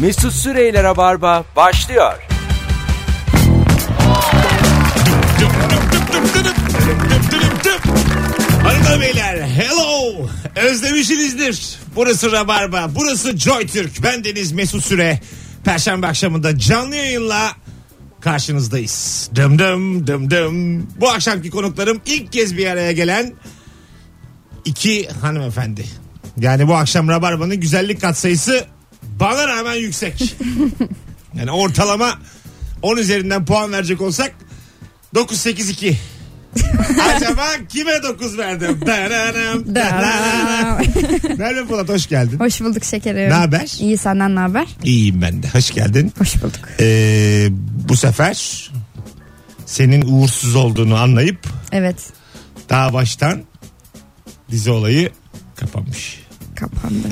Mesut Süreyler'e barba başlıyor. Hanımlar beyler hello özlemişsinizdir. Burası Rabarba burası Joy Türk. Ben Deniz Mesut Süre. Perşembe akşamında canlı yayınla karşınızdayız. Dım dım dım dım. Bu akşamki konuklarım ilk kez bir araya gelen iki hanımefendi. Yani bu akşam Rabarba'nın güzellik katsayısı bana rağmen yüksek. yani ortalama 10 üzerinden puan verecek olsak 9-8-2. Acaba kime 9 verdim? Dananam, dananam. Merve Polat hoş geldin. Hoş bulduk şekerim. Ne haber? İyi senden ne haber? İyiyim ben de. Hoş geldin. Hoş bulduk. Ee, bu sefer senin uğursuz olduğunu anlayıp Evet daha baştan dizi olayı kapanmış. kapandı.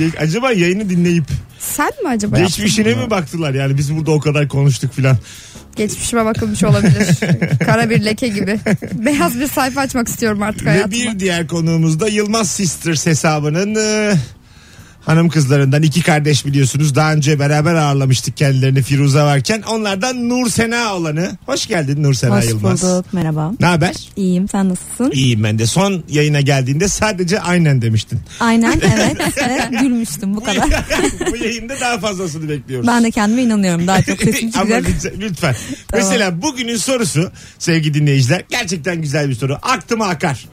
Ge- Acaba yayını dinleyip Sen mi acaba? yaptın? geçmişine mi baktılar? Yani biz burada o kadar konuştuk filan. Geçmişime bakılmış olabilir. Kara bir leke gibi. Beyaz bir sayfa açmak istiyorum artık Ve hayatıma. bir diğer konuğumuz da Yılmaz Sisters hesabının e, hanım kızlarından iki kardeş biliyorsunuz. Daha önce beraber ağırlamıştık kendilerini Firuze varken. Onlardan Nur Sena olanı. Hoş geldin Nur Sena Hoş Yılmaz. bulduk merhaba. Ne haber? İyiyim sen nasılsın? İyiyim ben de. Son yayına geldiğinde sadece aynen demiştin. Aynen evet ve gülmüştüm bu kadar. Bu yayında daha fazlasını bekliyoruz. Ben de kendime inanıyorum daha çok sesim Ama çıkacak. lütfen. lütfen. Mesela bugünün sorusu sevgili dinleyiciler gerçekten güzel bir soru. Aklıma akar.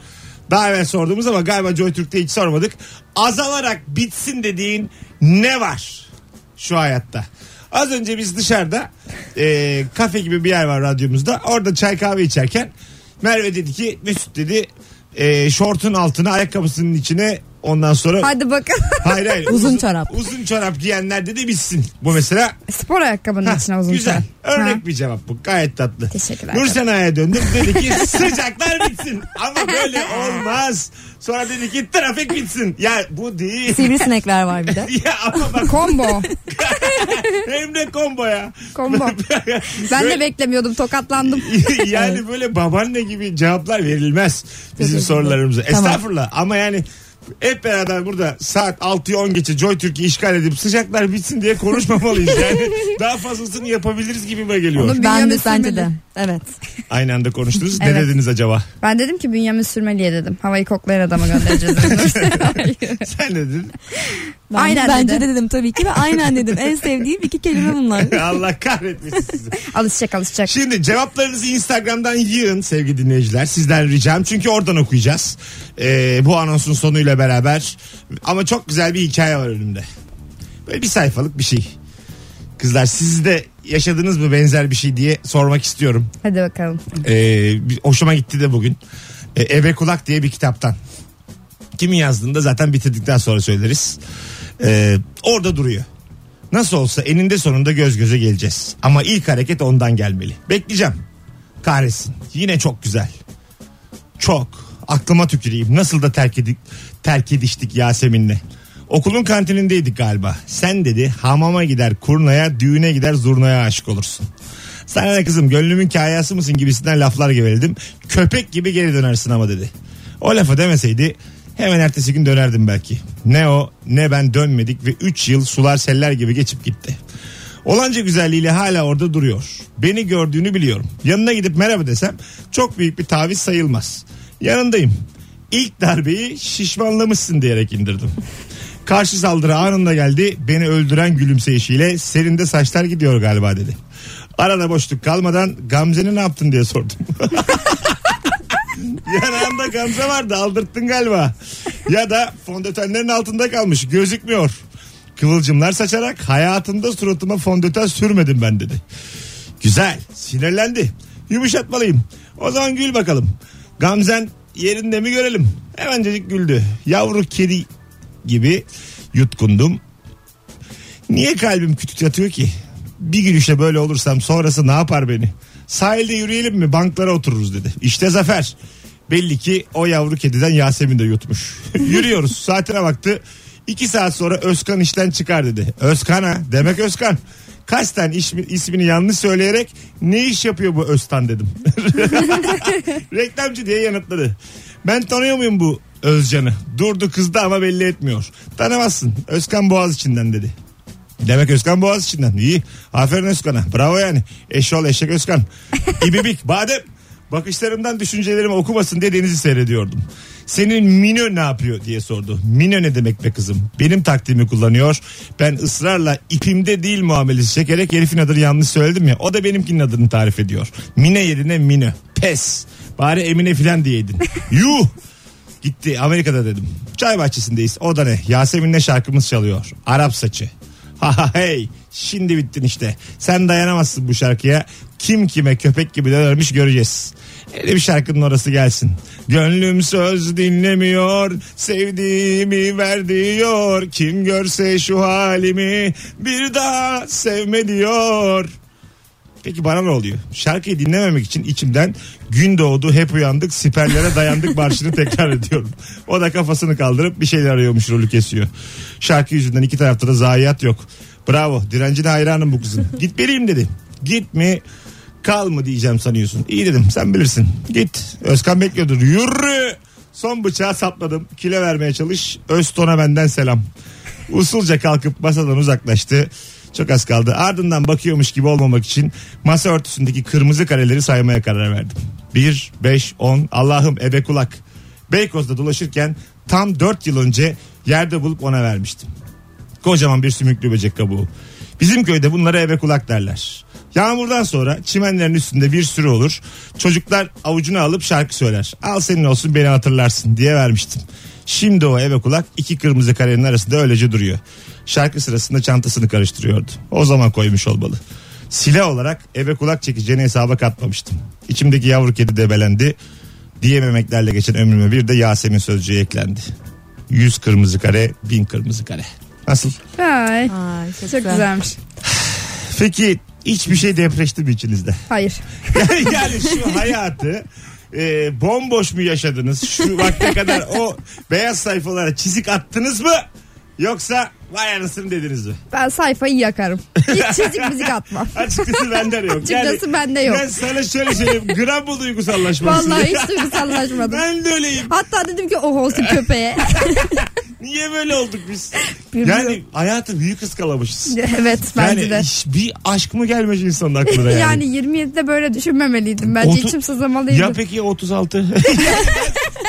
Daha evvel sorduğumuz ama galiba Joy Türk'te hiç sormadık. Azalarak bitsin dediğin ne var şu hayatta? Az önce biz dışarıda e, kafe gibi bir yer var radyomuzda. Orada çay kahve içerken Merve dedi ki Mesut dedi e, şortun altına ayakkabısının içine ondan sonra Hadi bakın. hayır hayır Uzun çorap. uzun çorap giyenler dedi bitsin. Bu mesela Spor ayakkabının içine uzun Güzel. çorap. Örnek Ha. bir cevap bu. Gayet tatlı. Teşekkürler. Nur Sena'ya döndüm. Dedi ki sıcaklar bitsin. Ama böyle olmaz. Sonra dedi ki trafik bitsin. Ya bu değil. Sivrisinekler var bir de. ya ama bak Combo. hem de kombo ya. Combo. Ben de Böyle- beklemiyordum tokatlandım. yani böyle babaanne gibi cevaplar verilmez bizim Teşekkür sorularımıza. ederim. Tamam. Estağfurullah ama yani hep beraber burada saat 6'yı 10 geçe Joy Türk'ü işgal edip sıcaklar bitsin diye konuşmamalıyız. Yani daha fazlasını yapabiliriz gibime geliyor. Onu- Ben de Bünyamin sence de. Sürmeli. Evet. Aynı anda konuştunuz. Ne Evet. dediniz acaba? Ben dedim ki Bünyamin Sürmeli'ye dedim. Havayı koklayan adama göndereceğiz. Sen ne dedin? Ben, Aynen bence dedi. de dedim tabii ki ve aynen dedim. En sevdiğim iki kelime bunlar. Allah kahretmesin sizi. alışacak alışacak. Şimdi cevaplarınızı Instagram'dan yığın sevgili dinleyiciler. Sizden ricam çünkü oradan okuyacağız. Ee, bu anonsun sonuyla beraber. Ama çok güzel bir hikaye var önümde. Böyle bir sayfalık bir şey. Kızlar siz de yaşadınız mı benzer bir şey diye sormak istiyorum. Hadi bakalım. Ee, bir- hoşuma gitti de bugün. Ee, Ebe Kulak diye bir kitaptan. Kimin yazdığını da zaten bitirdikten sonra söyleriz. Ee, orada duruyor. Nasıl olsa eninde sonunda göz göze geleceğiz. Ama ilk hareket ondan gelmeli. Bekleyeceğim. Kahretsin. Yine çok güzel. Çok. Aklıma tüküreyim. Nasıl da terk, edik, terk ediştik Yasemin'le. Okulun kantinindeydik galiba. Sen dedi hamama gider kurnaya, düğüne gider zurnaya aşık olursun. Sana ne kızım gönlümün kayası mısın gibisinden laflar geveldim. Köpek gibi geri dönersin ama dedi. O lafı demeseydi hemen ertesi gün dönerdim belki. Ne o ne ben dönmedik ve 3 yıl sular seller gibi geçip gitti. Olanca güzelliğiyle hala orada duruyor. Beni gördüğünü biliyorum. Yanına gidip merhaba desem çok büyük bir taviz sayılmaz. Yanındayım. İlk darbeyi şişmanlamışsın diyerek indirdim. Karşı saldırı anında geldi. Beni öldüren gülümseyişiyle serinde saçlar gidiyor galiba dedi. Arada boşluk kalmadan Gamze'ni ne yaptın diye sordum. Yanağında Gamze vardı aldırttın galiba. Ya da fondötenlerin altında kalmış gözükmüyor. Kıvılcımlar saçarak hayatımda suratıma fondöten sürmedim ben dedi. Güzel sinirlendi. Yumuşatmalıyım. O zaman gül bakalım. Gamzen yerinde mi görelim? Hemencecik güldü. Yavru kedi gibi yutkundum. Niye kalbim kütük yatıyor ki? Bir gülüşle böyle olursam sonrası ne yapar beni? Sahilde yürüyelim mi banklara otururuz dedi. İşte Zafer. Belli ki o yavru kediden Yasemin de yutmuş. Yürüyoruz saatine baktı. İki saat sonra Özkan işten çıkar dedi. Özkan ha demek Özkan. Kasten ismi, ismini yanlış söyleyerek ne iş yapıyor bu Özkan dedim. Reklamcı diye yanıtladı. Ben tanıyor muyum bu Özcan'ı. Durdu kızdı ama belli etmiyor. Tanımazsın. Özkan Boğaz içinden dedi. Demek Özkan Boğaz içinden. İyi. Aferin Özkan'a. Bravo yani. Eşol eşek Özkan. İbibik. Badem. Bakışlarımdan düşüncelerimi okumasın diye denizi seyrediyordum. Senin Minö ne yapıyor diye sordu. Minö ne demek be kızım? Benim taktiğimi kullanıyor. Ben ısrarla ipimde değil muamelesi çekerek herifin adını yanlış söyledim ya. O da benimkinin adını tarif ediyor. Mine yerine Minö. Pes. Bari Emine filan diyeydin. Yuh. Gitti Amerika'da dedim. Çay bahçesindeyiz. O da ne? Yasemin'le şarkımız çalıyor. Arap saçı. Ha ha hey. Şimdi bittin işte. Sen dayanamazsın bu şarkıya. Kim kime köpek gibi dönermiş göreceğiz. Hele bir şarkının orası gelsin. Gönlüm söz dinlemiyor. Sevdiğimi ver diyor. Kim görse şu halimi bir daha sevme diyor. Peki bana ne oluyor? Şarkıyı dinlememek için içimden gün doğdu hep uyandık siperlere dayandık marşını tekrar ediyorum. O da kafasını kaldırıp bir şeyler arıyormuş rolü kesiyor. Şarkı yüzünden iki tarafta da zayiat yok. Bravo direncine hayranım bu kızın. Git vereyim dedi. Git mi kal mı diyeceğim sanıyorsun. İyi dedim sen bilirsin. Git Özkan bekliyordur. Yürü. Son bıçağı sapladım. Kile vermeye çalış. Özton'a benden selam. Usulca kalkıp masadan uzaklaştı. Çok az kaldı. Ardından bakıyormuş gibi olmamak için masa örtüsündeki kırmızı kareleri saymaya karar verdim. 1, 5, 10. Allah'ım ebe kulak. Beykoz'da dolaşırken tam 4 yıl önce yerde bulup ona vermiştim. Kocaman bir sümüklü böcek kabuğu. Bizim köyde bunlara ebe kulak derler. Yağmurdan sonra çimenlerin üstünde bir sürü olur. Çocuklar avucuna alıp şarkı söyler. Al senin olsun beni hatırlarsın diye vermiştim. Şimdi o ebe kulak iki kırmızı karenin arasında öylece duruyor. Şarkı sırasında çantasını karıştırıyordu. O zaman koymuş olmalı. Silah olarak ebe kulak çekeceğini hesaba katmamıştım. İçimdeki yavru kedi debelendi. Diyememeklerle geçen ömrüme bir de Yasemin sözcüğü eklendi. Yüz kırmızı kare, bin kırmızı kare. Nasıl? Ay, Aa, çok, çok güzelmiş. Peki hiçbir şey depreşti mi içinizde? Hayır. Yani, yani şu hayatı e, bomboş mu yaşadınız? Şu vakte kadar o beyaz sayfalara çizik attınız mı? Yoksa vay anasını dediniz mi? Ben sayfayı yakarım. Hiç çizik müzik atmam. Açıkçası bende de yok. Açıkçası bende yok. Ben sana şöyle söyleyeyim. Gram bu duygusallaşmasın. Vallahi hiç duygusallaşmadım. Ben de öyleyim. Hatta dedim ki oh olsun köpeğe. Niye böyle olduk biz? Bilmiyorum. Yani hayatı büyük ıskalamışız. evet bence Yani de. bir aşk mı gelmeyecek insanın aklına Yani. yani? 27'de böyle düşünmemeliydim. Bence Otu- içim ya sızlamalıydı. peki 36?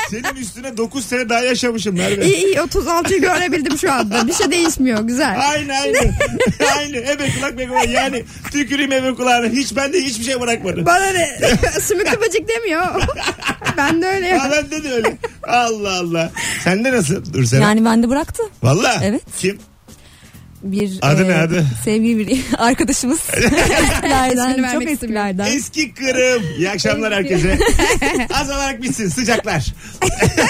Senin üstüne 9 sene daha yaşamışım Merve. İyi iyi 36'yı görebildim şu anda. Bir şey değişmiyor güzel. Aynı aynı. aynı. Ebe kulak be kulak. Yani tüküreyim ebe kulağına. Hiç bende hiçbir şey bırakmadı. Bana ne? Sümüklü böcek demiyor. ben de öyle yok. Ha, bende de öyle. Allah Allah. Sende nasıl? Dur sen. Yani bende bıraktı. Valla. Evet. Kim? Bir Adı ne, adı? Sevgili bir arkadaşımız. İsmini eskilerden, vermek istemiyorum. çok eskilerden. Eski Kırım. İyi akşamlar herkese. Az olarak bitsin sıcaklar.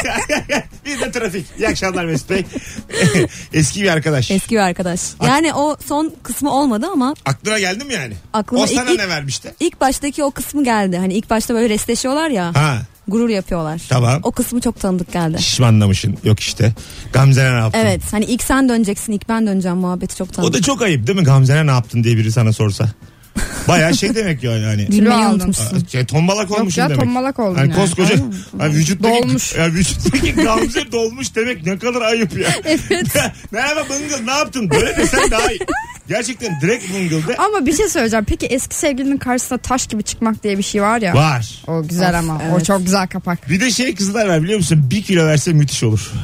bir de trafik. İyi akşamlar Mesut Bey. Eski bir arkadaş. Eski bir arkadaş. Yani o son kısmı olmadı ama Aklına geldi mi yani? Aklıma o sana ilk- ne vermişti? ilk baştaki o kısmı geldi. Hani ilk başta böyle restleşiyorlar ya. Ha. Gurur yapıyorlar. Tamam. O kısmı çok tanıdık geldi. Şişmanlamışın. Yok işte. Gamze'ne ne yaptın? Evet hani ilk sen döneceksin ilk ben döneceğim muhabbeti çok O tanıdık. da çok ayıp değil mi Gamze'ne ne yaptın diye biri sana sorsa. Baya şey demek yani hani. Bilmeyi Kilo aldın. unutmuşsun. Şey, tombalak olmuşsun ya, demek. tombalak oldun Hani yani. koskoca hani vücuttaki, Dolmuş. Ya, vücuttaki Gamze dolmuş demek ne kadar ayıp ya. Evet. Merhaba Bıngıl ne yaptın? Böyle desen daha iyi. Gerçekten direkt Bıngıl de. Ama bir şey söyleyeceğim. Peki eski sevgilinin karşısına taş gibi çıkmak diye bir şey var ya. Var. O güzel Of, ama. O evet. çok güzel kapak. Bir de şey kızlar var biliyor musun? Bir kilo verse müthiş olur.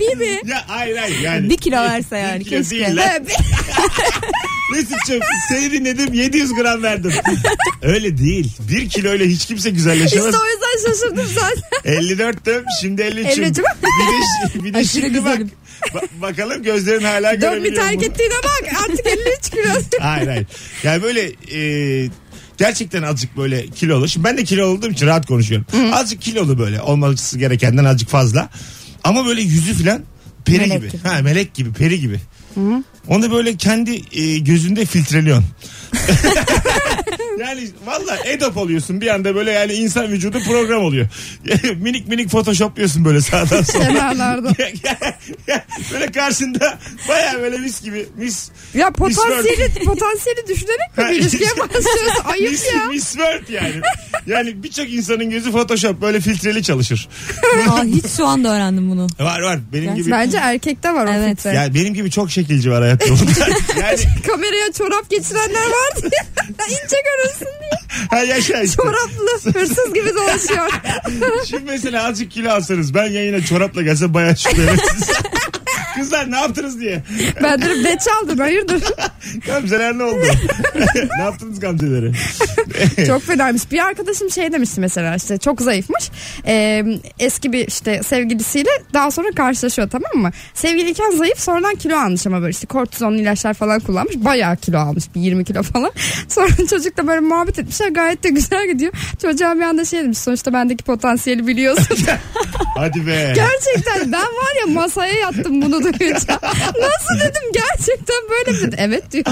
Bir mi? ya hayır hayır yani. Bir kilo verse yani kilo keşke. değil lan. Mesut'cum seni dinledim 700 gram verdim. Öyle değil. Bir kiloyla hiç kimse İşte güzelleşemez. o yüzden şaşırdım zaten. 54'tüm şimdi 53'üm. Bir 53'üm. de, şi- bir de Aşırı şimdi bak. güzelim. ba- bakalım gözlerin hala Dön bir görebiliyor terk mu? ettiğine bak. Artık 53 kilo. Hayır hayır. Yani böyle e, gerçekten azıcık böyle kilolu. Şimdi ben de kilo olduğum için rahat konuşuyorum. Azıcık kilolu böyle. Olması gerekenden azıcık fazla. Ama böyle yüzü filan peri Melek gibi. gibi. Ha melek gibi, peri gibi. Onu böyle kendi e, gözünde filtreliyorsun. yani Yani valla edop oluyorsun bir anda böyle yani insan vücudu program oluyor. minik minik photoshopluyorsun böyle sağdan sola. kenarlarda. böyle karşında baya böyle mis gibi mis Ya Miss potansiyeli, potansiyeli düşünerek mi Ha, bir ilişkiye başlıyoruz? Ayıp mis, ya. mis Word yani. Yani birçok insanın gözü photoshop böyle filtreli çalışır. Aa, hiç şu anda öğrendim bunu. Var var benim gibi. Bence erkekte var o Evet. fitre. Ya benim gibi çok şekilci var hayatta. yani Kameraya çorap geçirenler var diye. Ya İnce görünsün diye. ha yaşa işte. Çoraplı hırsız gibi dolaşıyor. Şimdi mesela azıcık kilo alsanız ben yayına çorapla gelsem bayağı şüphelisiniz. Kızlar ne yaptınız diye. ben dedim ne çaldım hayırdır? Gamzeler ne oldu? ne yaptınız gamzeleri? Çok fenaymış. Bir arkadaşım şey demişti mesela işte çok zayıfmış. Ee, eski bir işte sevgilisiyle daha sonra karşılaşıyor tamam mı? Sevgiliyken zayıf sonradan kilo almış ama böyle işte kortizonlu ilaçlar falan kullanmış. Bayağı kilo almış bir 20 kilo falan. Sonra çocukla böyle muhabbet etmişler gayet de güzel gidiyor. Çocuğa bir anda şey demiş sonuçta bendeki potansiyeli biliyorsun. Hadi be. gerçekten ben var ya masaya yattım bunu duyunca. Nasıl dedim gerçekten böyle mi? dedi. Evet diyor.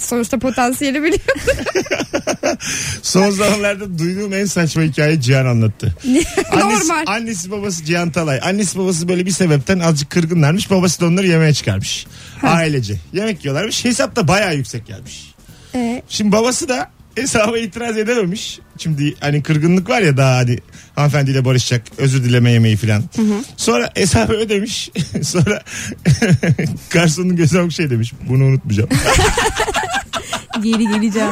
sonuçta potansiyeli biliyor. Son zamanlarda duyduğum en saçma hikaye Cihan anlattı. Annesi, Normal. Annesi babası Cihan Talay. Annesi babası böyle bir sebepten azıcık kırgınlarmış. Babası da onları yemeğe çıkarmış. Ailece. Yemek yiyorlarmış. Hesap da bayağı yüksek gelmiş. Ee, Şimdi babası da hesaba itiraz edememiş. Şimdi hani kırgınlık var ya daha hani hanımefendiyle barışacak özür dileme yemeği filan. Sonra hesabı ödemiş. Sonra garsonun gözüne bir şey demiş. Bunu unutmayacağım. Geri geleceğim.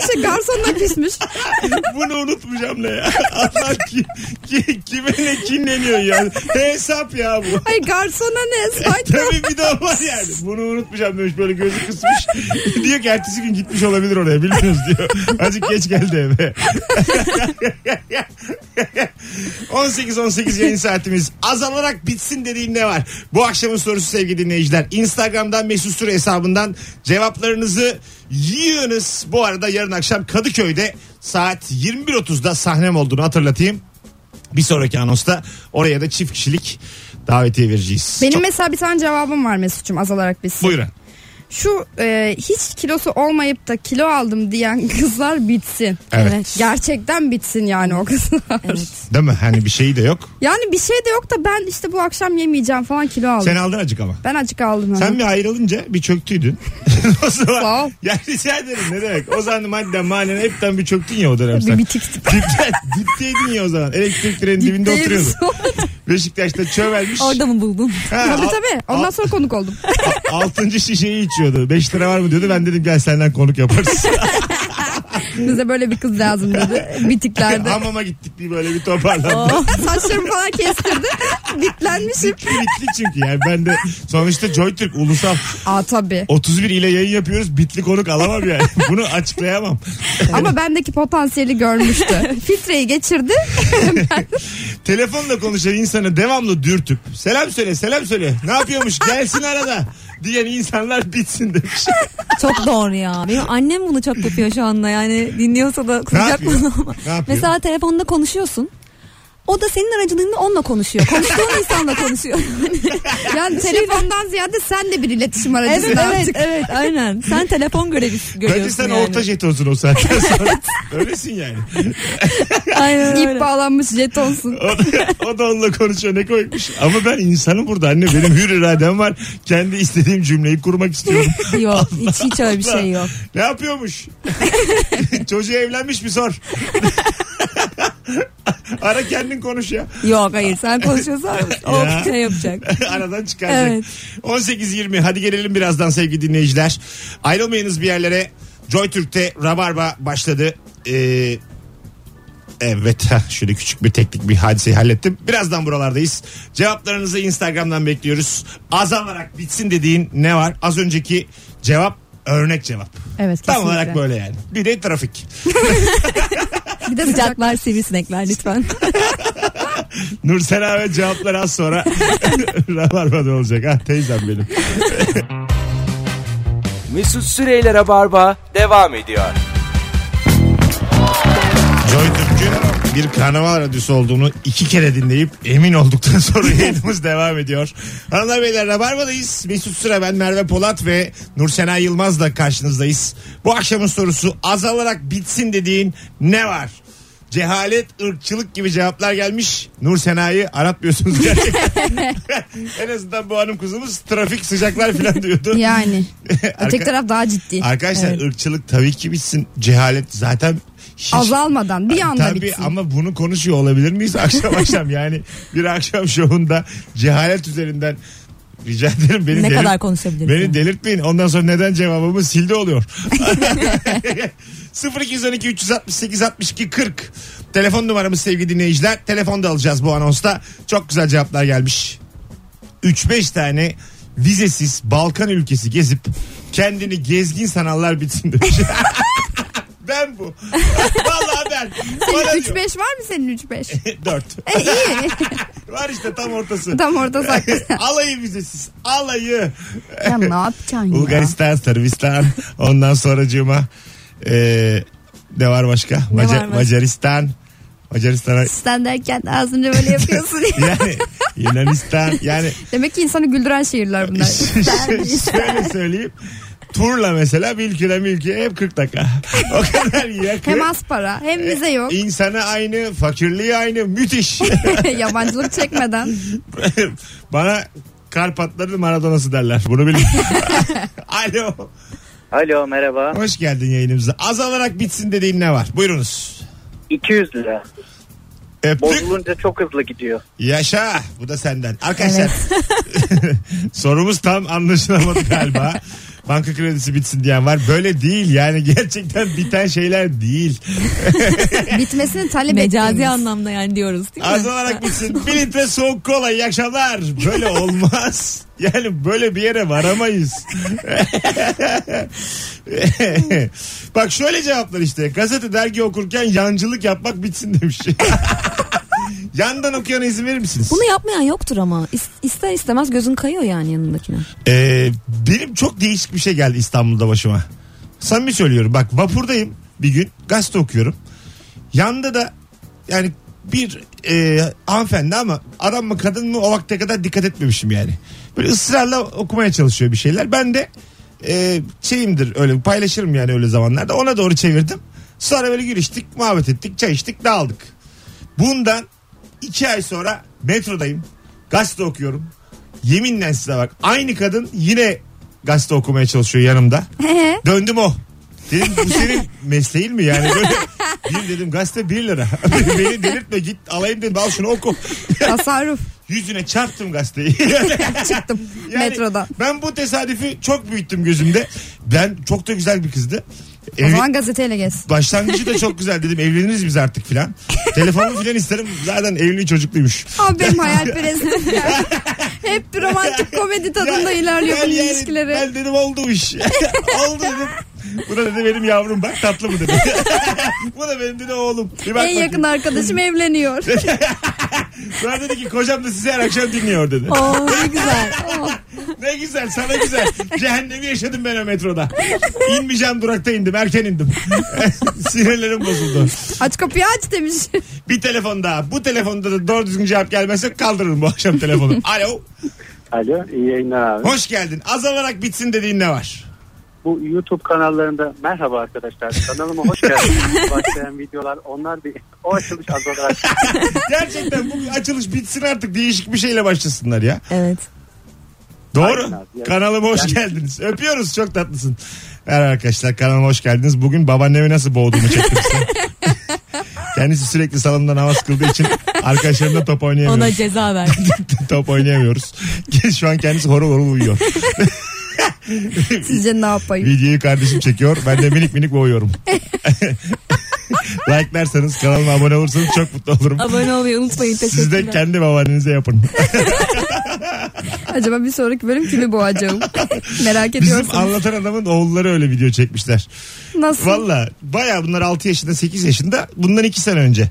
işte garsonla küsmüş. Bunu unutmayacağım ne ya. Allah ki, ki, kime ne kinleniyor ya. Hesap ya bu. Ay garsona ne saçma. Tabii bir de o var yani. Bunu unutmayacağım demiş böyle gözü kısmış. diyor ki ertesi gün gitmiş olabilir oraya bilmiyoruz diyor. Azıcık geç geldi eve. 18-18 yayın saatimiz azalarak bitsin dediğin ne var? Bu akşamın sorusu sevgili dinleyiciler. Instagram'dan Mesut Süre hesabından cevaplarınızı yığınız. Bu arada yarın akşam Kadıköy'de saat 21.30'da sahnem olduğunu hatırlatayım. Bir sonraki anosta oraya da çift kişilik davetiye vereceğiz. Benim Çok- mesela bir tane cevabım var Mesut'cum azalarak biz. Buyurun. Şu e, hiç kilosu olmayıp da kilo aldım diyen kızlar bitsin. Evet. Evet. Gerçekten bitsin yani o kızlar. Evet. Değil mi? Hani bir şeyi de yok. Yani bir şey de yok da ben işte bu akşam yemeyeceğim falan kilo aldım. Sen aldın acık ama. Ben acık aldım. Sen hemen. bir ayrılınca bir çöktüydün. o zaman Sağ ol. yani rica ederim ne demek. O zaman madden manen hepten bir çöktün ya o dönem bir sen. bitiktik. Dipte- Dipteydin ya o zaman. Elektrik trenin dibinde Değil oturuyordun. sonra- Beşiktaş'ta çövelmiş. Orada mı buldun? Ha, tabii al- tabii. Ondan al- sonra konuk oldum. altıncı şişeyi içiyordu. 5 lira var mı diyordu. Ben dedim gel senden konuk yaparız. Bize böyle bir kız lazım dedi. Bitiklerde. Hamama gittik bir böyle bir toparlandı. Oh, Saçlarımı falan kestirdi. Bitlenmişim. Bitli bitli çünkü yani ben de sonuçta JoyTürk ulusal Aa tabii. 31 ile yayın yapıyoruz bitli konuk alamam yani bunu açıklayamam. Ama bendeki potansiyeli görmüştü. Filtreyi geçirdi. Telefonla konuşan insanı devamlı dürtüp selam söyle selam söyle ne yapıyormuş gelsin arada diyen insanlar bitsin demiş. Çok doğru ya. Benim annem bunu çok yapıyor şu anda yani dinliyorsa da kızacak yapıyor? bana ama. Ne yapıyor? Mesela telefonda konuşuyorsun. O da senin aracılığında onunla konuşuyor. Konuştuğun insanla konuşuyor. Yani telefondan ziyade sen de bir iletişim aracısın şey- evet artık. evet evet aynen. Sen telefon görevi görüyorsun Bence sen yani. orta jet olsun o saatten sonra. Öylesin yani. Aynen İp öyle. bağlanmış jetonsun. O da, o da onunla konuşuyor ne koymuş. Ama ben insanım burada anne benim hür iradem var. Kendi istediğim cümleyi kurmak istiyorum. Yok hiç hiç öyle bir şey yok. Ne yapıyormuş? Çocuğu evlenmiş mi sor. Ara kendin konuş ya. Yok hayır sen konuşuyorsan Ya. o şey yapacak. Aradan çıkaracak. Evet. 18-20 hadi gelelim birazdan sevgili dinleyiciler. Ayrılmayınız bir yerlere. Joy Türk'te Rabarba başladı. Ee, evet heh, şöyle küçük bir teknik bir hadiseyi hallettim. Birazdan buralardayız. Cevaplarınızı Instagram'dan bekliyoruz. Azalarak bitsin dediğin ne var? Az önceki cevap örnek cevap. Evet kesinlikle. Tam olarak böyle yani. Bir de trafik. Bir de sıcak. Sıcaklar sivrisinekler lütfen. Nursena ve cevapları az sonra Rabarba'da olacak. Ha, teyzem benim. Mesut Süreyler'e barba devam ediyor. Joy Türk'ün bir karnaval radyosu olduğunu iki kere dinleyip emin olduktan sonra yayınımız devam ediyor. Hanımlar beyler Rabarba'dayız. Mesut Süre ben Merve Polat ve Nursena Yılmaz'la karşınızdayız. Bu akşamın sorusu azalarak bitsin dediğin ne var? Cehalet, ırkçılık gibi cevaplar gelmiş. Nur Sena'yı aratmıyorsunuz gerçekten. en azından bu hanım kuzumuz trafik sıcaklar falan diyordu. Yani. Arka- Öteki taraf daha ciddi. Arkadaşlar Evet. ırkçılık tabii ki bitsin. Cehalet zaten hiç... Azalmadan bir anda Tabii bitsin. ama bunu konuşuyor olabilir miyiz akşam akşam yani bir akşam şovunda cehalet üzerinden rica ederim beni Ne delir- kadar konuşabiliriz? Beni delirtmeyin. Ondan sonra neden cevabımı sildi oluyor. 0212 368 62 40 Telefon numaramız sevgili dinleyiciler. Telefonda alacağız bu anonsta. Çok güzel cevaplar gelmiş. 3-5 tane vizesiz Balkan ülkesi gezip kendini gezgin sanallar bitsin demiş. ben bu. Vallahi ben. Bana diyor. 3-5 var mı senin 3-5? Dört. e iyi. Var işte tam ortası. Tam orada saklı. alayı vizesiz. Alayı. ya ne yapacaksın ya? Bulgaristan, Sırbistan. Ondan sonracığıma eee ne var başka? Maca- var başka? Macaristan. Macaristan'a Sen derken ağzını böyle yapıyorsun. ya. yani Yunanistan yani Demek ki insanı güldüren şehirler bunlar. şöyle söyleyeyim. Turla mesela bir ülkeden bir ülkeye hep 40 dakika. O kadar yakın. Hem az para hem vize yok. İnsana aynı, fakirliği aynı. Müthiş. Yabancılık çekmeden. Bana Karpatların Maradona'sı derler. Bunu bilin. Alo. Alo merhaba. Hoş geldin yayınımıza. Azalarak bitsin dediğin ne var? Buyurunuz. 200 lira. Öptük. Bozulunca çok hızlı gidiyor. Yaşa. Bu da senden. Arkadaşlar. sorumuz tam anlaşılamadı galiba. Banka kredisi bitsin diyen var. Böyle değil yani gerçekten biten şeyler değil. Bitmesini talep Mecazi ettiğimiz. anlamda yani diyoruz değil mi? Azalarak bitsin. Bir litre soğuk kola iyi akşamlar. Böyle olmaz. Yani böyle bir yere varamayız. Bak şöyle cevaplar işte. Gazete dergi okurken yancılık yapmak bitsin demiş. Yandan okuyana izin verir misiniz? Bunu yapmayan yoktur ama. İs- ister istemez gözün kayıyor yani yanındakine. Ee, benim çok değişik bir şey geldi İstanbul'da başıma. Samimi söylüyorum bak vapurdayım bir gün gazete okuyorum. Yanda da yani bir e, hanımefendi ama adam mı kadın mı o vakte kadar dikkat etmemişim yani. Böyle ısrarla okumaya çalışıyor bir şeyler. Ben de e, şeyimdir öyle paylaşırım yani öyle zamanlarda. Ona doğru çevirdim. Sonra böyle giriştik muhabbet ettik çay içtik dağıldık. Bundan iki ay sonra metrodayım. Gazete okuyorum. Yeminle size bak. Aynı kadın yine gazete okumaya çalışıyor yanımda. Döndüm o. Dedim bu senin mesleğin mi yani? Böyle bir dedim gazete bir lira. Beni delirtme git alayım dedim al şunu oku. Tasarruf. Yüzüne çarptım gazeteyi. Çıktım Yani metrodan. Ben bu tesadüfi çok büyüttüm gözümde. Ben çok da güzel bir kızdı. O Evli- zaman gazeteyle gez. Başlangıcı da çok güzel dedim evleniriz biz artık filan. Telefonu filan isterim zaten evli çocukluymuş. Abi benim hayalperestim ya. Hep bir romantik komedi tadında Ya, ilerliyor bu ben yani- ilişkileri. Ben dedim oldu bu iş. oldu dedim. Bu da dedi benim yavrum bak tatlı mı dedi. bu da benim dedi oğlum. Bir bak en bakayım. yakın arkadaşım evleniyor. Sonra dedi ki kocam da sizi her akşam dinliyor dedi. Oo ne güzel. Oo. ne güzel sana güzel. Cehennemi yaşadım ben o metroda. İnmeyeceğim durakta indim erken indim. Sinirlerim bozuldu. aç kapıyı aç demiş. Bir telefon daha. Bu telefonda da doğru düzgün cevap gelmezse kaldırırım bu akşam telefonu. Alo. Alo iyi yayınlar abi. Hoş geldin. Azalarak bitsin dediğin ne var? Bu YouTube kanallarında merhaba arkadaşlar kanalıma hoş geldiniz. Başlayan videolar onlar bir o açılış az olarak. Gerçekten bu açılış bitsin artık değişik bir şeyle başlasınlar ya. Evet. Doğru. Aynen abi, evet. Kanalıma hoş Yani- geldiniz. Öpüyoruz çok tatlısın. Merhaba arkadaşlar kanalıma hoş geldiniz. Bugün babaannemi nasıl boğduğumu çektim size. Kendisi sürekli salondan havas kıldığı için arkadaşlarımla top Ona oynayamıyoruz. ceza ver. top oynayamıyoruz. Şu an kendisi horul horul uyuyor. Sizce ne yapayım? Videoyu kardeşim çekiyor. Ben de minik minik boğuyorum. Like'larsanız kanalıma abone olursanız çok mutlu olurum. Abone olmayı unutmayın. Siz de Teşekkürler. kendi babaannenize yapın. Acaba bir sonraki bölüm kimi boğacağım? Merak Bizim ediyorsunuz. anlatan adamın oğulları öyle video çekmişler. Nasıl? Valla baya bunlar 6 yaşında 8 yaşında bundan 2 sene önce.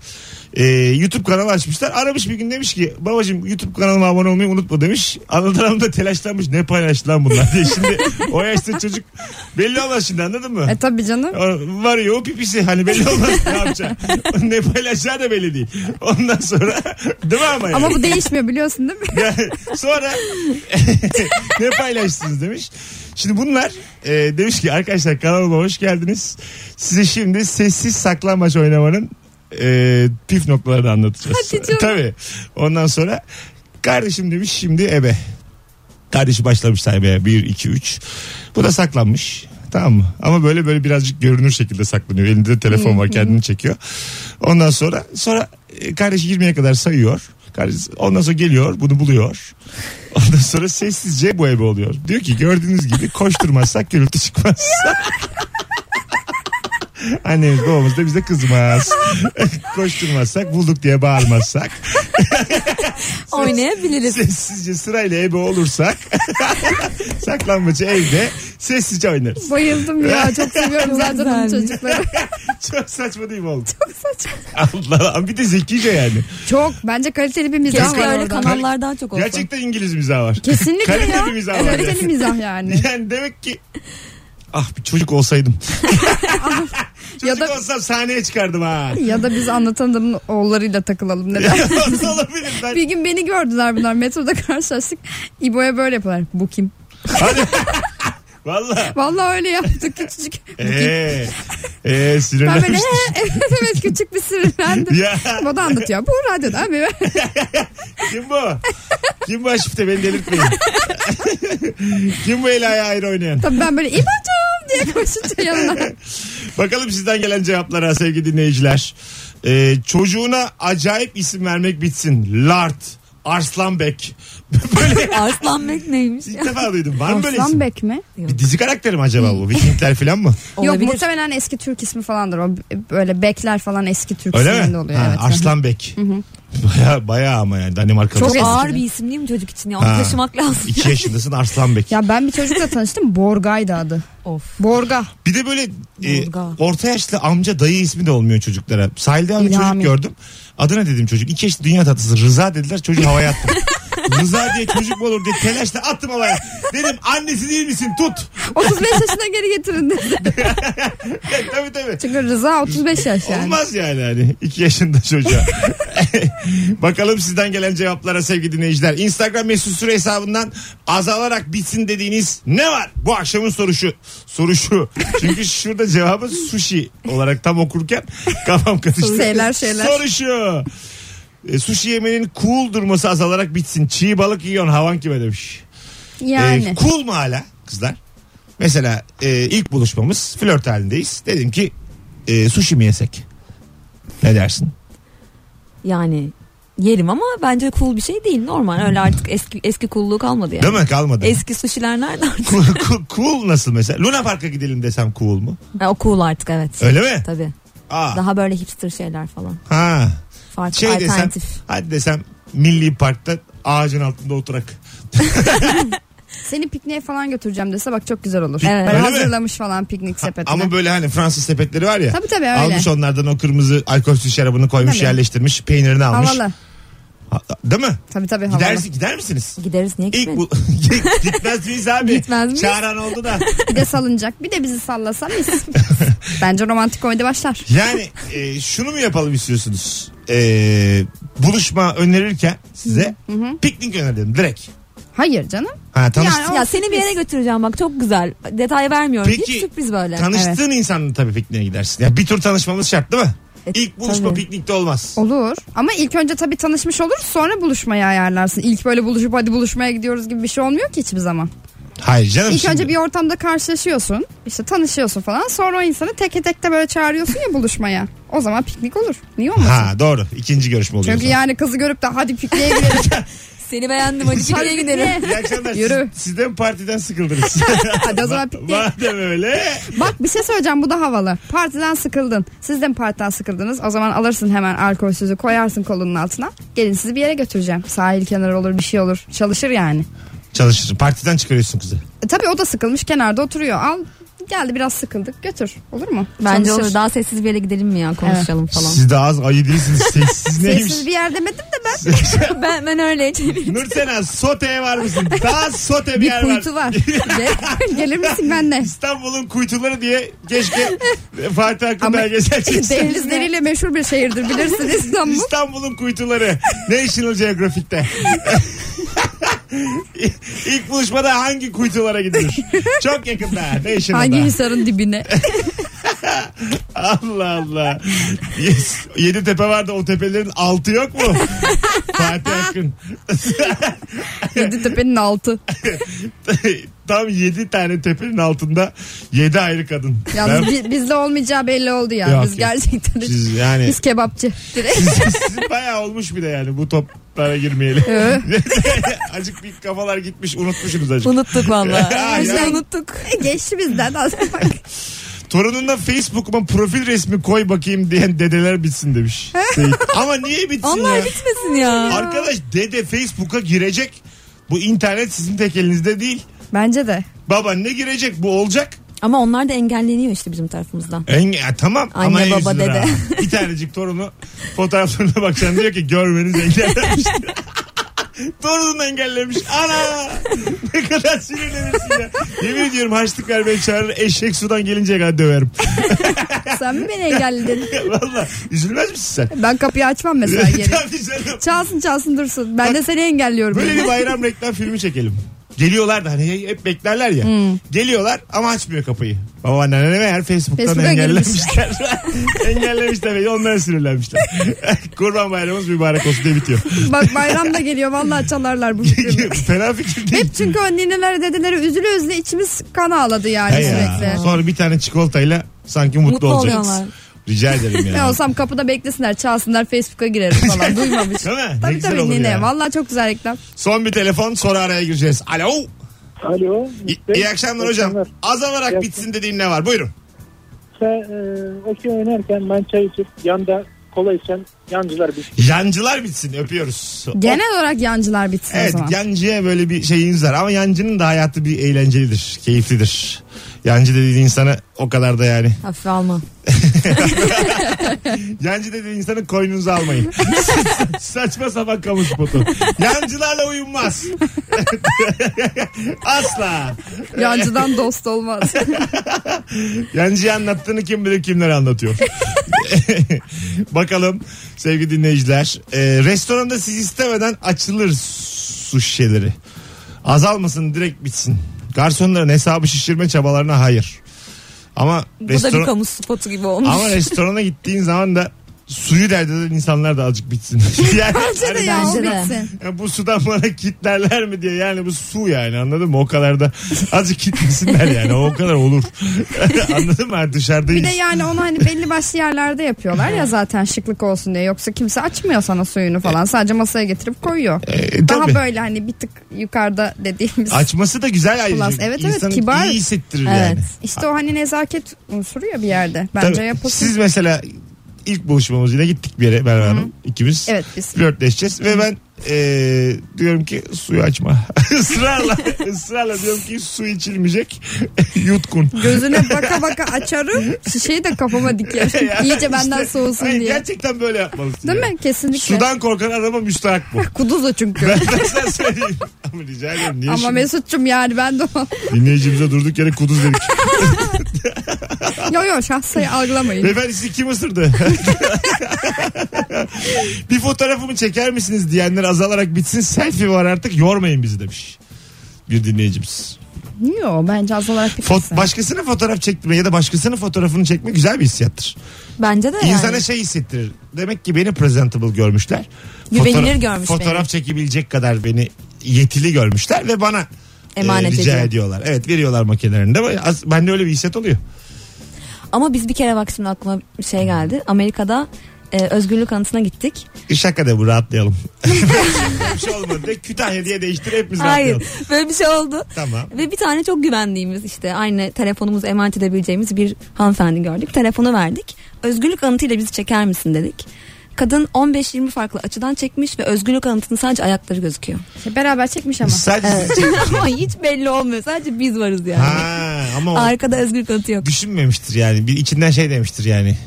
Ee, YouTube kanalı açmışlar. Aramış bir gün demiş ki babacığım YouTube kanalıma abone olmayı unutma demiş. Anladın Hanım da telaşlanmış. Ne paylaştı lan bunlar diye. Şimdi o yaşta çocuk belli olmaz şimdi anladın mı? E tabii canım. O- var ya o pipisi hani belli olmaz ne yapacağı. ne paylaşacağı da belli değil. Ondan sonra değil mi ama yani? Ama bu değişmiyor biliyorsun değil mi? Yani sonra ne paylaştınız demiş. Şimdi bunlar e, demiş ki arkadaşlar kanalıma hoş geldiniz. Size şimdi sessiz saklanmaç oynamanın e, püf noktalarını anlatacağız. Hadi canım. Tabii. Ondan sonra kardeşim demiş şimdi ebe. Kardeşi başlamış saymaya 1 2 3. Bu da saklanmış. Tamam mı? Ama böyle böyle birazcık görünür şekilde saklanıyor. Elinde de telefon var kendini çekiyor. Ondan sonra sonra e, kardeşi girmeye kadar sayıyor. Kardeşi, ondan sonra geliyor bunu buluyor. Ondan sonra sessizce bu ebe oluyor. Diyor ki gördüğünüz gibi koşturmazsak gürültü çıkmaz. Annemiz babamız da bize kızmaz. koşturmazsak bulduk diye bağırmazsak. Oynayabiliriz. sessizce sırayla ebe olursak saklanmacı evde sessizce oynarız. Bayıldım ya çok seviyorum zaten onun Güzelmiş. çocukları. Çok saçma değil mi oğlum? Çok saçma. Allah Allah bir de zekice yani. Çok bence kaliteli bir mizah Keşke var öyle orada. kanallar daha çok olsa. Gerçekten İngiliz mizahı var. Kesinlikle Kaliteli ya. bir mizah var Kaliteli yani. mizah yani. Yani demek ki ah bir çocuk olsaydım. çocuk Ya da- olsam sahneye çıkardım ha. Ya da biz anlatan adamın oğullarıyla takılalım neden? Olabilir ben. bir gün beni gördüler bunlar metroda karşılaştık. İbo'ya böyle yapıyorlar. Bu kim? Hadi. Valla. Ee, Vallahi öyle yaptık küçücük. Bu Eee. kim? Eee Ben böyle sinirlenmiştim. "He, evet evet küçük bir sinirlendim. Ya. O da anlatıyor. Bu radyoda abi. Kim bu? Kim bu aşifte beni delirtmeyin. Kim bu eli ayağı ayrı oynayan? Tabii ben böyle İbo'cum diye koşunca yanına. Bakalım sizden gelen cevaplara sevgili dinleyiciler. Ee, çocuğuna acayip isim vermek bitsin. Lart, Arslanbek. Böyle Arslan Bek neymiş? ilk defa duydum. Var mı böyle isim? Aslan Bek mi? Bir dizi karakteri mi acaba bu? Vikingler falan mı? Yok Olabilir. muhtemelen eski Türk ismi falandır. O böyle Bekler falan eski Türk Öyle isminde mi? oluyor. Ha, evet. Arslanbek. Baya baya ama yani Danimarkalı. Çok Çok ağır eski. bir isim değil mi çocuk için ya? Ha. Onu taşımak lazım. 2 yaşındasın Arslanbek. Ya ben bir çocukla tanıştım. Borga'ydı adı. Of. Borga. Bir de böyle e, Volga. orta yaşlı amca dayı ismi de olmuyor çocuklara. Sahilde bir çocuk İlhami. gördüm. Adına dedim çocuk. İki yaşlı dünya tatlısı Rıza dediler çocuğu havaya attım. Rıza diye çocuk mu olur diye telaşla attım havaya. Dedim annesi değil misin tut. 35 yaşına geri getirin dedi. tabii tabii. Çünkü Rıza 35 yaş yani. Olmaz yani hani iki yaşında çocuğa. Bakalım sizden gelen cevaplara sevgili dinleyiciler. Instagram mesut süre hesabından azalarak bitsin dediğiniz ne var? Bu akşamın soru şu. Soru şu. Çünkü şurada cevabı sushi olarak tam okurken kafam karıştı. Şeyler, şeyler. Soru şu. E, sushi yemenin cool durması azalarak bitsin. Çiğ balık yiyorsun havan kime demiş. Yani. Ee, cool mu hala kızlar? Mesela e, ilk buluşmamız flört halindeyiz. Dedim ki e, sushi mi yesek? Ne dersin? Yani yerim ama bence cool bir şey değil. Normal öyle artık eski eski coolluğu kalmadı yani. Değil mi? Kalmadı. Eski sushiler nerede artık? Cool, cool- cool nasıl mesela? Luna Park'a gidelim desem cool mu? Ha, o cool artık evet. Öyle mi? Tabii. Aa, Daha böyle hipster şeyler falan. ha. Farklı Şey desem, alternatif. hadi desem Milli Park'ta ağacın altında oturak. Seni pikniğe falan götüreceğim dese bak çok güzel olur. Evet. Böyle Öyle mi? hazırlamış falan piknik sepetini. Ama böyle hani Fransız sepetleri var ya. Tabii tabii öyle. Almış onlardan o kırmızı alkolsüz şarabını koymuş Tabii. yerleştirmiş peynirini almış. Havalı. Ha- Değil mi? Tabii tabii havalı. Gidersin, gider misiniz? Gideriz niye İlk gitmeyelim? bu... Gitmez miyiz abi? Gitmez miyiz? Çağıran oldu da. Bir de salınacak. Bir de bizi sallasa biz. Bence romantik komedi başlar. Yani e, şunu mu yapalım istiyorsunuz? E, buluşma önerirken size piknik önerdim direkt. Hayır canım. Ha, tanış, Yani Ya seni bir yere götüreceğim bak çok güzel. Detay vermiyorum. Peki, Hiç sürpriz böyle. tanıştığın insanla tabii pikniğe gidersin. Ya bir tur tanışmamız şart değil mi? E, İlk buluşma tabii. piknikte olmaz. Olur. Ama ilk önce tabii tanışmış olur sonra buluşmayı ayarlarsın. İlk böyle buluşup hadi buluşmaya gidiyoruz gibi bir şey olmuyor ki hiçbir zaman. Hayır canım. İlk şimdi- önce bir ortamda karşılaşıyorsun. işte tanışıyorsun falan. Sonra o insanı teke tekte böyle çağırıyorsun ya buluşmaya. O zaman piknik olur. Niye olmasın? Ha doğru. İkinci görüşme oluyor. Çünkü o zaman. yani kızı görüp de hadi pikniğe gidelim. Seni beğendim hadi pikniğe gidelim. İyi akşamlar. Yürü. Siz, siz de mi partiden sıkıldınız? Hadi o zaman pikniğe. Madem öyle. Bak bir şey söyleyeceğim bu da havalı. Partiden sıkıldın. Siz de mi partiden sıkıldınız? O zaman alırsın hemen alkolsüzü koyarsın kolunun altına. Gelin sizi bir yere götüreceğim. Sahil kenarı olur bir şey olur. Çalışır yani. Çalışırsın. Partiden çıkarıyorsun kızı. E, tabii o da sıkılmış kenarda oturuyor. Al Geldi biraz sıkıldık götür olur mu? Bence Çalışır. olur. Daha sessiz bir yere gidelim mi ya konuşalım falan. Siz de az ayı değilsiniz. Sessiz neymiş? Sessiz bir yer demedim de ben. ben ben öyle Nursena soteye var mısın? Daha sote bir, bir yer var. kuytu var. Gelir misin benle? İstanbul'un kuytuları diye keşke Fatih Akın Ama- belgesel çekse. Denizleriyle meşhur bir şehirdir bilirsiniz İstanbul. İstanbul'un kuytuları National Geographic'te. İlk buluşmada hangi kuytulara gidilir? Çok yakında National'da. Hangi hisarın dibine? Allah Allah. Yes. Yedi tepe vardı o tepelerin altı yok mu? Fatih Akın. Yeditepe'nin altı. Tam yedi tane tepenin altında yedi ayrı kadın. Yalnız Ben- bi- bizde olmayacağı belli oldu ya. Yok, biz yok. gerçekten Siz yani biz kebapçı. Direkt. siz, sizin bayağı olmuş bir de yani bu toplara girmeyeli. Ee? acık bir kafalar gitmiş unutmuşsunuz acık. Unuttuk valla. Ya. Bizden unuttuk. Geçti bizden aslında. Torununla Facebook'uma profil resmi koy bakayım diyen dedeler bitsin demiş. Seyit. Ama niye bitsin ya? Onlar bitmesin ya. Arkadaş dede Facebook'a girecek. Bu internet sizin tek elinizde değil. Bence de. Baban ne girecek bu olacak. Ama onlar da engelleniyor işte bizim tarafımızdan. En, ya tamam Anne, ama en baba, yüzüne dede. rağmen. Bir tanecik torunu fotoğraflarına bakacaksın diyor ki görmeniz engellenmiş. Torununu engellemiş. Ana! Ne kadar sinirlenirsin ya. Yemin ediyorum harçlık vermeye çağırır. Eşek sudan gelinceye kadar döverim. Sen mi beni engelledin? Valla üzülmez misin sen? Ben kapıyı açmam mesela geri. Tabii canım. Çalsın çalsın dursun. Ben de seni engelliyorum. Böyle bir bayram reklam filmi çekelim. Geliyorlar da hani hep beklerler ya. Hmm. Geliyorlar ama açmıyor kapıyı. Babaannene meğer Facebook'tan Facebook'tan engellemişler. engellemişler ve onlara sinirlenmişler. Kurban bayramımız mübarek olsun diye bitiyor. Bak bayram da geliyor. Vallahi çalarlar bu filmi. Fena fikir değil. Hep çünkü o nineler dedeleri üzülü üzülü içimiz kan ağladı yani Ha ya. sürekli. Sonra bir tane çikolatayla sanki mutlu, Mutlu olacaksınız. oluyorlar. Rica ederim Ne ya. olsam kapıda beklesinler çalsınlar Facebook'a girerim falan duymamış. Değil mi? Ne Tabii güzel tabii olur nene ya. valla çok güzel reklam. Son bir telefon sonra araya gireceğiz. Alo. Alo. İyi, iyi akşamlar hocam. Az İyi alarak bitsin dediğin ne var? Buyurun. Sen e, okey oynarken ben çay içip yanda kola içen yancılar bir Yancılar bitsin öpüyoruz. Genel olarak yancılar bitsin o Evet zaman. yancıya böyle bir şeyiniz var ama yancının da hayatı bir eğlencelidir, keyiflidir. Yancı dediğin insana o kadar da yani. Hafife alma. Yancı dediğin insanı koynunuza almayın. Saçma sapan kamu spotu. Yancılarla uyunmaz. Asla. Yancıdan dost olmaz. Yancıya anlattığını kim bilir kimler anlatıyor. Bakalım sevgili dinleyiciler. Ee, restoranda siz istemeden açılır su şişeleri. Azalmasın direkt bitsin. Garsonların hesabı şişirme çabalarına hayır. Ama Bu da bir restoran kamu spotu gibi olmuş. ama restorana gittiğin zaman da suyu dert eden insanlar da azıcık bitsin. yani, Bence de hani ya o Bence de. bitsin. ya bu sudan bana kitlerler mi diye yani bu su yani anladın mı o kadar da azıcık kitlesinler yani o kadar olur anladın mı Hani Ha, Bir dışarıdayız de yani onu hani belli başlı yerlerde yapıyorlar ya zaten şıklık olsun diye. Yoksa kimse açmıyor sana suyunu falan. Sadece masaya getirip koyuyor. E, Daha tabii. böyle hani bir tık yukarıda dediğimiz. açması da güzel ayrıca Plus, evet, evet, İnsanı kibar. iyi hissettirir Evet. yani İşte o hani nezaket unsuru ya bir yerde. Bence Tabii. yapılsın. siz mesela ilk buluşmamız yine gittik bir yere Merve Hanım ikimiz Evet biz. flörtleşeceğiz ve ben eee, diyorum ki suyu açma ısrarla ısrarla diyorum ki su içilmeyecek yutkun Gözüne baka baka açarım. Şişeyi de kafama dikerim. İyice benden İşte, soğusun hayır, diye. Gerçekten böyle yapmalısın. Değil ya. mi? Kesinlikle. Sudan korkan araba müstahak bu. Kuduz o çünkü. ben ben sana söyleyeyim. Ama rica ederim. Niye Ama şimdi? Mesut'cum yani ben de o. Dinleyicimize durduk yere kuduz dedik. Yo yo şahsayı algılamayın. Beyefendi sizi kim ısırdı? bir fotoğrafımı çeker misiniz diyenler azalarak bitsin. Selfie var artık yormayın bizi demiş. Bir dinleyicimiz. Yo bence az olarak bir Fot kesin. başkasının fotoğraf çektirme ya da başkasının fotoğrafını çekme güzel bir hissiyattır. Bence de yani. İnsana şey hissettirir. Demek ki beni presentable görmüşler. Güvenilir Fotoğraf- görmüş Fotoğraf beni. çekebilecek kadar beni yetili görmüşler ve bana Emanet e, rica ediyor. ediyorlar. Evet veriyorlar makinelerinde. Ama az- Bende öyle bir hissiyat oluyor. Ama biz bir kere bak şimdi aklıma bir şey geldi. Amerika'da e, özgürlük anıtına gittik. E, Şaka de bu rahatlayalım. bir şey olmadı. De, Kütahya diye değiştir hepimiz Hayır rahatlayalım. böyle bir şey oldu. Tamam. Ve bir tane çok güvendiğimiz işte aynı telefonumuzu emanet edebileceğimiz bir hanımefendi gördük. Telefonu verdik. Özgürlük anıtıyla bizi çeker misin dedik. Kadın 15-20 farklı açıdan çekmiş ve özgürlük anıtının sadece ayakları gözüküyor. Beraber çekmiş ama. Sadece Ama hiç belli olmuyor. Sadece biz varız yani. Ha, ama o Arkada özgürlük anıtı yok. düşünmemiştir yani. Bir içinden şey demiştir yani.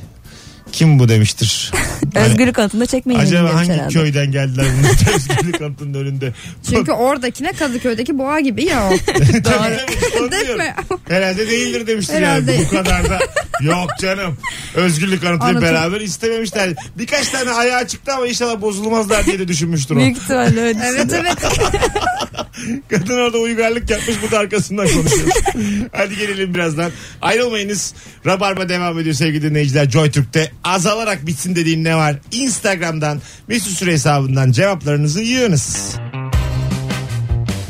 Kim bu demiştir. Yani Özgürlük anıtında çekmeyin Hani acaba demiş hangi herhalde. köyden geldiler bunlar özgürlük anıtının önünde. Çünkü oradakine Kadıköy'deki boğa gibi ya o. Tabii tabii, onu Değil diyorum. mi? Herhalde değildir demiştir Herhalde. yani. Bu kadar da yok canım. Özgürlük anıtıyla Anlatın. beraber istememişler. Birkaç tane ayağı çıktı ama inşallah bozulmazlar diye de düşünmüştür o. Büyük ihtimalle öyle. evet evet. Kadın orada uygarlık yapmış bu da arkasından konuşuyor. Hadi gelelim birazdan. Ayrılmayınız. Rabarba devam ediyor sevgili dinleyiciler. Joy Türk'te azalarak bitsin dediğin ne var? Instagram'dan Mesut Süre hesabından cevaplarınızı yığınız.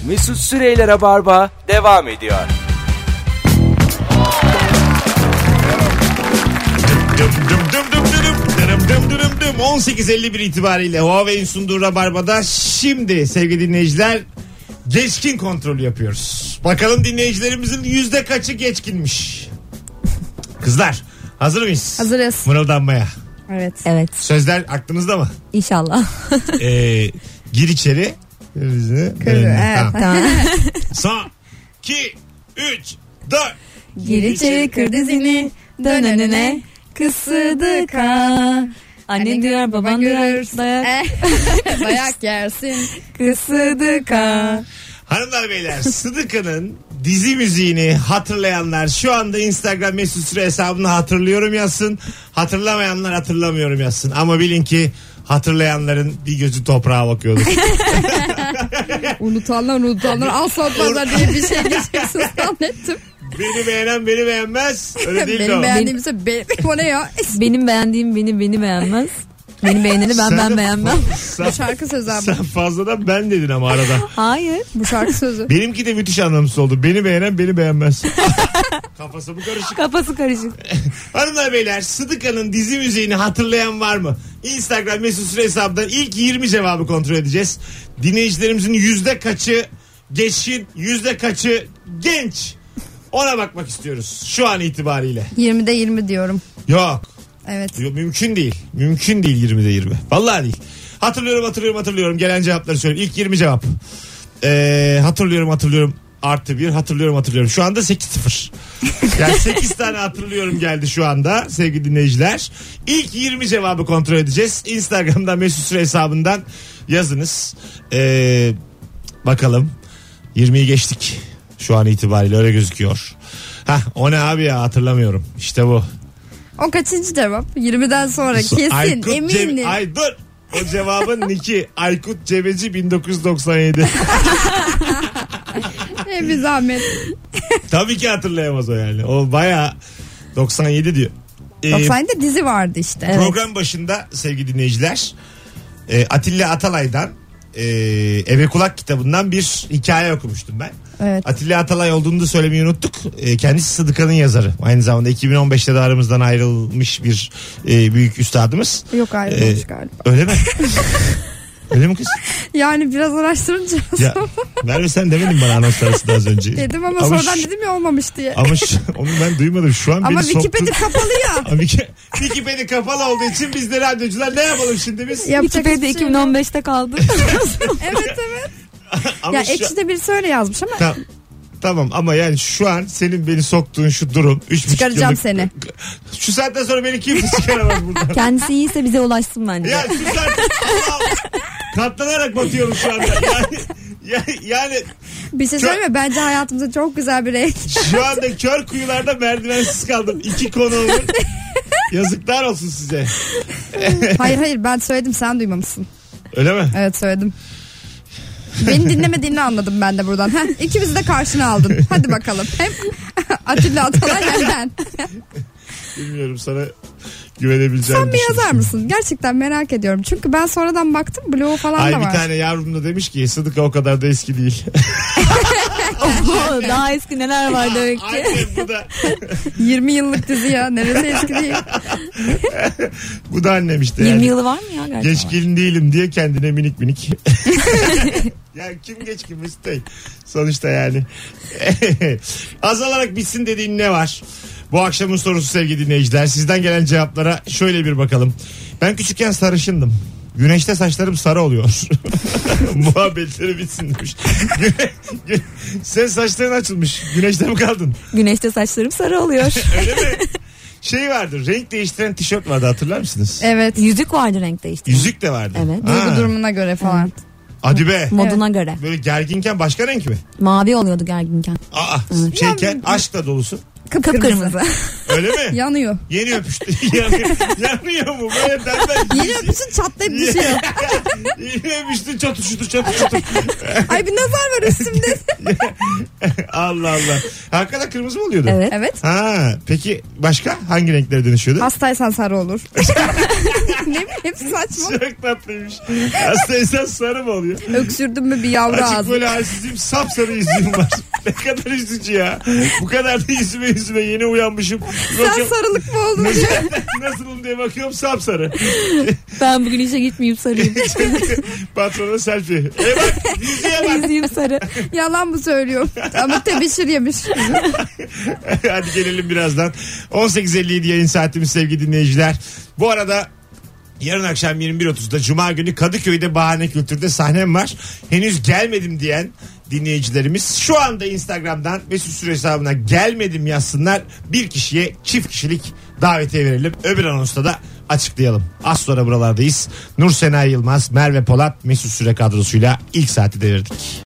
Mesut Süreyler'e barba devam ediyor. Dım dım dım dım dım dım dım dım dım dım. 18.51 itibariyle Huawei'in sunduğu Rabarba'da şimdi sevgili dinleyiciler geçkin kontrolü yapıyoruz. Bakalım dinleyicilerimizin yüzde kaçı geçkinmiş? Kızlar hazır mıyız? Hazırız. Mırıldanmaya. Evet. Evet Sözler aklınızda mı? inşallah. Ee, gir içeri. Kırmızı. evet. Tamam. tamam. Son. 2, 3, 4. Gir içeri kır dizini dön önüne kısıdık ha. Hani Annen diyor baban diyor dayak Eh, dayak yersin. kısıdık ha. Hanımlar beyler Sıdıkı'nın dizi müziğini hatırlayanlar şu anda Instagram mesut süre hesabını hatırlıyorum yazsın. Hatırlamayanlar hatırlamıyorum yazsın. Ama bilin ki hatırlayanların bir gözü toprağa bakıyordu. Unutanlar unutanlar asla unutmazlar diye bir şey geçeceksin zannettim. beni beğenen beni beğenmez. Öyle değil Benim mi? beğendiğimse benim o ne ya? Benim beğendiğim beni beni beğenmez. Beni beğeneni ben ben beğenmem. Sen, Bu şarkı sözü abi. sen fazladan ben dedin ama arada. Hayır. Bu şarkı sözü. Benimki de müthiş anlamsız oldu. Beni beğenen beni beğenmez. Kafası bu karışık. Kafası karışık. Hanımlar beyler Sıdıka'nın dizi müziğini hatırlayan var mı? Instagram mesut süre hesabından ilk 20 cevabı kontrol edeceğiz. Dinleyicilerimizin yüzde kaçı geçin yüzde kaçı genç. Ona bakmak istiyoruz şu an itibariyle. 20'de 20 diyorum. Yok. Evet. Yok, mümkün değil. Mümkün değil 20'de 20. Vallahi değil. Hatırlıyorum hatırlıyorum hatırlıyorum. Gelen cevapları söyleyeyim. İlk 20 cevap. Ee, hatırlıyorum hatırlıyorum. Artı bir hatırlıyorum hatırlıyorum. Şu anda 8-0. Yani 8 tane hatırlıyorum geldi şu anda sevgili dinleyiciler. İlk 20 cevabı kontrol edeceğiz. Instagram'dan Mesut Süre hesabından yazınız. Ee, bakalım 20'yi geçtik şu an itibariyle öyle gözüküyor. Hah o ne abi ya hatırlamıyorum. İşte bu. O kaçıncı cevap? 20'den sonra So- kesin Aykut eminim. Cem- Ay dur. O cevabın niki Aykut Cebeci 1997. Ne bir zahmet. Tabii ki hatırlayamaz o yani. O baya 97 diyor. Ee, 90'da dizi vardı işte. Program başında sevgili dinleyiciler e, Atilla Atalay'dan e, Eve Kulak kitabından bir hikaye okumuştum ben. Evet. Atilla Atalay olduğunu da söylemeyi unuttuk. E, kendisi Sıdıka'nın yazarı. Aynı zamanda 2015'te de aramızdan ayrılmış bir e, büyük üstadımız. Yok ayrılmış Ee, galiba. Öyle mi? Öyle mi kız? Yani biraz araştırınca Ya Merve sen demedin bana anons arasında az önce. dedim ama, şu- sonradan dedim ya olmamış diye. Ama, Ama şu- onu ben duymadım. Şu an beni Wikipedia soktun. kapalı ya. Ama Wiki- Wikipedia kapalı olduğu için biz de radyocular ne yapalım şimdi biz? Yapacak Wikipedia hiçbir şey yok. 2015'te kaldı. Evet evet. Ama ya şu- ekşide birisi öyle yazmış ama Ta- tamam ama yani şu an senin beni soktuğun şu durum. Üç buçuk Çıkaracağım yıllık- seni. Şu saatten sonra beni kimse çıkaramaz buradan. Kendisi iyiyse bize ulaşsın bence. Ya sus artık. Allah Allah. Katlanarak batıyorum şu anda. Yani, yani, yani bir şey Şu- söyleme bence hayatımızda çok güzel bir renk. Şu anda kör kuyularda merdivensiz kaldım. İki konuğumun. Yazıklar olsun size. Hayır hayır ben söyledim sen duymamışsın. Öyle mi? Evet söyledim. Beni dinlemediğini anladım ben de buradan. Heh, ikimizi de karşına aldın. Hadi bakalım. Hem Atilla Atalay hem ben. Bilmiyorum sana güvenebileceğim. şey. Sen mi yazar mısın? Gerçekten merak ediyorum. Çünkü ben sonradan baktım bloğu falan Ay da bir var. tane yavrum da demiş ki Sıdıka o kadar da eski değil. Oho, Daha eski neler var demek ki. Annem bu da 20 yıllık dizi ya. Neresi eski değil. bu da annem işte. 20 yani. yılı var mı ya gerçekten? Geçkin değilim diye kendine minik minik. yani kim geçkin Mesut Bey? Sonuçta yani. Azalarak bitsin dediğin ne var? Bu akşamın sorusu sevgili dinleyiciler. Sizden gelen cevaplara şöyle bir bakalım. Ben küçükken sarışındım. Güneşte saçlarım sarı oluyor. Muhabbetleri bitsin demiş. Güne- gü- Sen saçların açılmış. Güneşte mi kaldın? Güneşte saçlarım sarı oluyor. Öyle mi? Şey vardır. Renk değiştiren tişört vardı hatırlar mısınız? Evet. Yüzük vardı renk değiştiren. Yüzük de vardı. Evet. Ha, Duygu durumuna göre falan. Hadi be. Moduna göre. Böyle gerginken başka renk mi? Mavi oluyordu gerginken. Aa, şeyken aşkla dolusu. Kıpkırmızı. Öyle mi? Yanıyor. Yeni öpüştü. yanıyor, yanıyor mu? Böyle ben Yeni öpüşün çatlayıp düşüyor. Yeni öpüştü çatışıtır çatışıtır. Ay bir nazar var üstümde. Allah Allah. Hakikaten kırmızı mı oluyordu? Evet. evet. Ha, peki başka hangi renklere dönüşüyordu? Hastaysan sarı olur. ne bileyim hepsi saçma. Çok tatlıymış. Aslında esas sarı mı oluyor? Öksürdün mü bir yavru Açık ağzı. böyle halsizim sapsarı yüzüğüm var. ne kadar üzücü ya. Bu kadar da yüzüme yüzüme yeni uyanmışım. Sen Bakıyorum- sarılık mı oldun? Nasılım diye bakıyorum sapsarı. Ben bugün işe gitmeyeyim sarıyım. Patrona selfie. E bak yüzüğe bak. Yüzüğüm sarı. Yalan mı söylüyorum? Ama tebeşir yemiş. Hadi gelelim birazdan. 18.57 yayın saatimiz sevgili dinleyiciler. Bu arada yarın akşam 21.30'da Cuma günü Kadıköy'de Bahane Kültür'de sahnem var. Henüz gelmedim diyen dinleyicilerimiz şu anda Instagram'dan Mesut Süre hesabına gelmedim yazsınlar. Bir kişiye çift kişilik davetiye verelim. Öbür anonsta da açıklayalım. Az sonra buralardayız. Nur Sena Yılmaz, Merve Polat, Mesut Süre kadrosuyla ilk saati devirdik.